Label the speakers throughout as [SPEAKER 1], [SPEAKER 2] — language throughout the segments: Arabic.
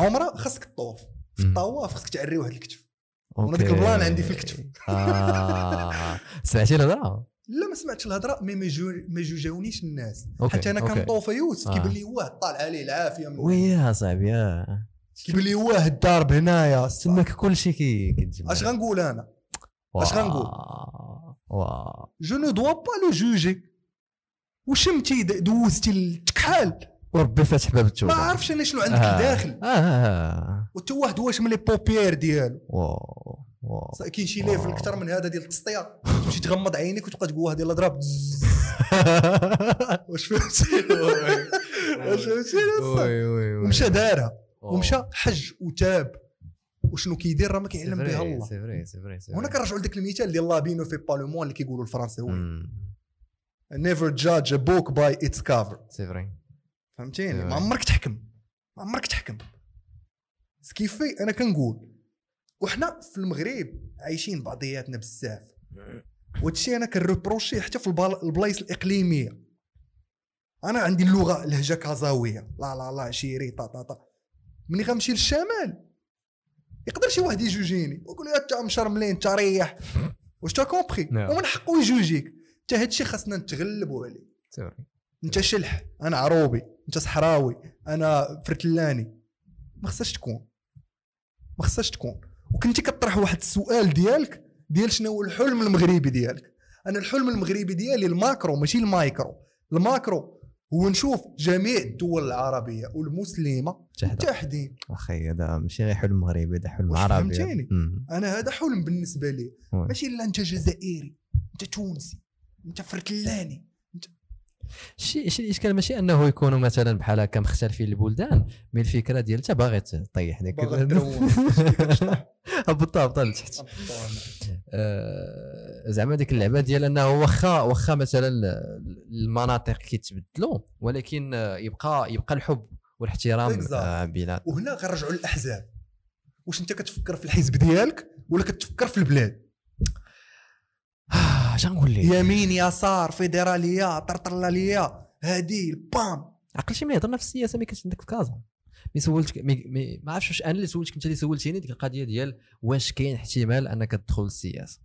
[SPEAKER 1] عمره خاصك تطوف في
[SPEAKER 2] مم.
[SPEAKER 1] الطواف خاصك تعري واحد الكتف وانا
[SPEAKER 2] أوكي.
[SPEAKER 1] ديك البلان عندي في الكتف
[SPEAKER 2] آه. سمعتي الهضره
[SPEAKER 1] لا ما سمعتش الهضره مي ما جو- ما جوجاونيش الناس
[SPEAKER 2] أوكي،
[SPEAKER 1] حتى انا
[SPEAKER 2] أوكي.
[SPEAKER 1] كنطوف يوسف
[SPEAKER 2] آه.
[SPEAKER 1] كيبان لي واه طالع عليه العافيه من-
[SPEAKER 2] ويا صاحبي يا
[SPEAKER 1] كيبان لي واه الضارب هنايا
[SPEAKER 2] تماك كل شيء كي كيتجمع
[SPEAKER 1] اش غنقول انا
[SPEAKER 2] واو.
[SPEAKER 1] أش غنقول؟
[SPEAKER 2] واو
[SPEAKER 1] جو نو دوا با لو جوجي وشمتي د- دوزتي التكحال
[SPEAKER 2] وربي فاتح باب التوبه
[SPEAKER 1] ما عارفش انا شنو عندك
[SPEAKER 2] آه.
[SPEAKER 1] الداخل
[SPEAKER 2] آه، آه.
[SPEAKER 1] وتا واحد واش من لي بوبيير ديالو
[SPEAKER 2] واو واو
[SPEAKER 1] صا- كاين شي ليفل
[SPEAKER 2] آه.
[SPEAKER 1] اكثر من هذا ديال التسطيع تمشي تغمض عينيك وتبقى تقول واحد يلا ضرب واش فهمتي واش فهمتي أصاحبي؟
[SPEAKER 2] وي- وي- وي.
[SPEAKER 1] ومشى دارها
[SPEAKER 2] واو.
[SPEAKER 1] ومشى حج وتاب وشنو كيدير راه ما كيعلم
[SPEAKER 2] سي
[SPEAKER 1] به
[SPEAKER 2] فري،
[SPEAKER 1] الله
[SPEAKER 2] سي فري سي فري سي
[SPEAKER 1] هنا
[SPEAKER 2] فري.
[SPEAKER 1] كنرجعوا لذاك المثال ديال لا بينو في با لو مون اللي كيقولوا الفرنساوي
[SPEAKER 2] مم.
[SPEAKER 1] نيفر جادج ا بوك باي اتس كافر
[SPEAKER 2] سي فري
[SPEAKER 1] فهمتيني
[SPEAKER 2] إيوا.
[SPEAKER 1] ما عمرك تحكم ما عمرك تحكم سكيفي انا كنقول وحنا في المغرب عايشين بعضياتنا بزاف وهادشي انا كنروبروشي حتى في البل- البلايص الاقليميه انا عندي اللغه لهجه كازاويه لا لا لا شيري طا طا طا ملي غنمشي للشمال يقدر شي واحد يجوجيني ويقول لي انت مشرملين انت ريح واش تا كومبري
[SPEAKER 2] نعم.
[SPEAKER 1] ومن حقه يجوجيك حتى هادشي خاصنا نتغلبوا عليه
[SPEAKER 2] سي فري
[SPEAKER 1] انت شلح انا عروبي انت صحراوي انا فرتلاني ما خصهاش تكون ما خصهاش تكون وكنتي كطرح واحد السؤال ديالك ديال شنو هو الحلم المغربي ديالك انا الحلم المغربي ديالي الماكرو ماشي المايكرو الماكرو هو نشوف جميع الدول العربية والمسلمة
[SPEAKER 2] تحت
[SPEAKER 1] متحدين
[SPEAKER 2] اخي هذا ماشي غير حلم مغربي هذا حلم
[SPEAKER 1] واش
[SPEAKER 2] عربي
[SPEAKER 1] فهمتيني؟
[SPEAKER 2] مم.
[SPEAKER 1] انا هذا حلم بالنسبة لي
[SPEAKER 2] وي.
[SPEAKER 1] ماشي لا انت جزائري انت تونسي انت فرتلاني
[SPEAKER 2] شي شي الاشكال ماشي انه يكونوا مثلا بحال هكا مختلفين البلدان مي الفكره ديال انت باغي تطيح ديك
[SPEAKER 1] باغي تدون.
[SPEAKER 2] هبطها هبطها لتحت آه، زعما ديك اللعبه ديال انه واخا واخا مثلا ال- المناطق كيتبدلوا ولكن آه، يبقى يبقى الحب والاحترام
[SPEAKER 1] Exact.
[SPEAKER 2] آه، بينات
[SPEAKER 1] وهنا غنرجعوا للاحزاب واش انت كتفكر في الحزب ديالك ولا كتفكر في البلاد
[SPEAKER 2] آه، اش غنقول لك
[SPEAKER 1] يمين يسار فيدراليه طرطلاليه هادي بام
[SPEAKER 2] عقل شي ما يهضرنا في السياسه مي كنت عندك في كازا مي سولتك مي, مي ما عرفتش واش انا اللي سولتك انت اللي سولتيني ديك القضيه ديال واش كاين احتمال انك تدخل للسياسه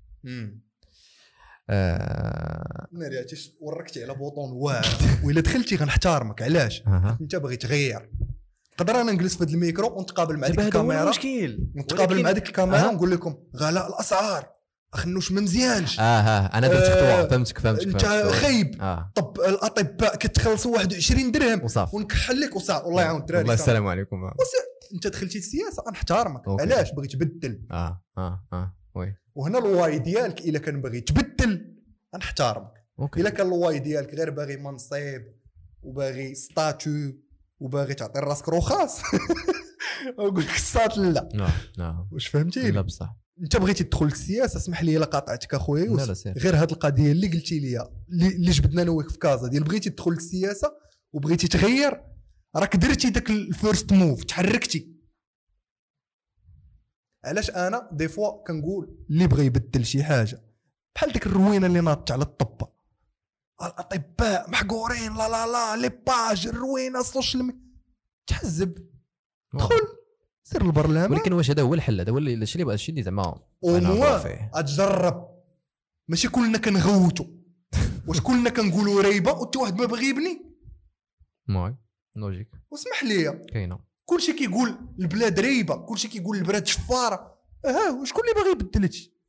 [SPEAKER 2] آه،
[SPEAKER 1] ما رجعتيش وركتي على بوطون واعر والا دخلتي غنحتارمك علاش
[SPEAKER 2] اها
[SPEAKER 1] انت باغي تغير نقدر انا نجلس في هذا الميكرو ونتقابل مع ديك
[SPEAKER 2] دابا هذا هو
[SPEAKER 1] الكاميرا
[SPEAKER 2] المشكل
[SPEAKER 1] نتقابل
[SPEAKER 2] ولكن-
[SPEAKER 1] مع ديك الكاميرا
[SPEAKER 2] أها.
[SPEAKER 1] ونقول لكم غلا الاسعار اخنوش ما مزيانش
[SPEAKER 2] اه اه انا درت
[SPEAKER 1] آه،
[SPEAKER 2] خطوه فهمتك فهمتك
[SPEAKER 1] انت
[SPEAKER 2] فهمتك.
[SPEAKER 1] خايب
[SPEAKER 2] اه
[SPEAKER 1] طب الاطباء كتخلصوا 21 درهم
[SPEAKER 2] وصافي
[SPEAKER 1] ونكحل لك وصا الله يعاون الدراري
[SPEAKER 2] الله
[SPEAKER 1] صافي.
[SPEAKER 2] السلام عليكم آه،
[SPEAKER 1] انت دخلتي السياسه غنحتارمك
[SPEAKER 2] أوكي.
[SPEAKER 1] علاش بغيت تبدل
[SPEAKER 2] اه اه اه وي
[SPEAKER 1] وهنا الواي ديالك الا كان باغي تبدل غنحتارمك
[SPEAKER 2] اوكي
[SPEAKER 1] الا كان الواي ديالك غير باغي منصب وباغي ستاتو وباغي تعطي راسك رخاص نقول لك الصات لا
[SPEAKER 2] نعم نعم
[SPEAKER 1] واش فهمتي
[SPEAKER 2] لا بصح
[SPEAKER 1] انت بغيتي تدخل للسياسه اسمح لي الا قاطعتك اخويا
[SPEAKER 2] لا لا
[SPEAKER 1] يوسف
[SPEAKER 2] سير
[SPEAKER 1] غير هاد القضيه اللي قلتي لي اللي اللي جبدنا انا وياك في كازا ديال بغيتي تدخل للسياسه وبغيتي تغير راك درتي داك الفيرست موف تحركتي علاش انا دي فوا كنقول اللي بغى يبدل شي حاجه بحال ديك الروينه اللي ناطت على الطبه الاطباء محقورين لا لا لا لي باج الروينه السوشيال مي- تحزب دخل سير البرلمان
[SPEAKER 2] ولكن واش هذا هو الحل هذا هو اللي- الشيء اللي الشيء اللي زعما
[SPEAKER 1] أو
[SPEAKER 2] أنا
[SPEAKER 1] موا
[SPEAKER 2] نهضر فيه.
[SPEAKER 1] اتجرب ماشي كلنا كنغوتو واش كلنا كنقولوا ريبه وانت واحد ما باغي يبني
[SPEAKER 2] وي لوجيك
[SPEAKER 1] واسمح لي
[SPEAKER 2] كاينه
[SPEAKER 1] كلشي كيقول البلاد ريبه كلشي كيقول البلاد شفاره اه وشكون اللي باغي يبدل هادشي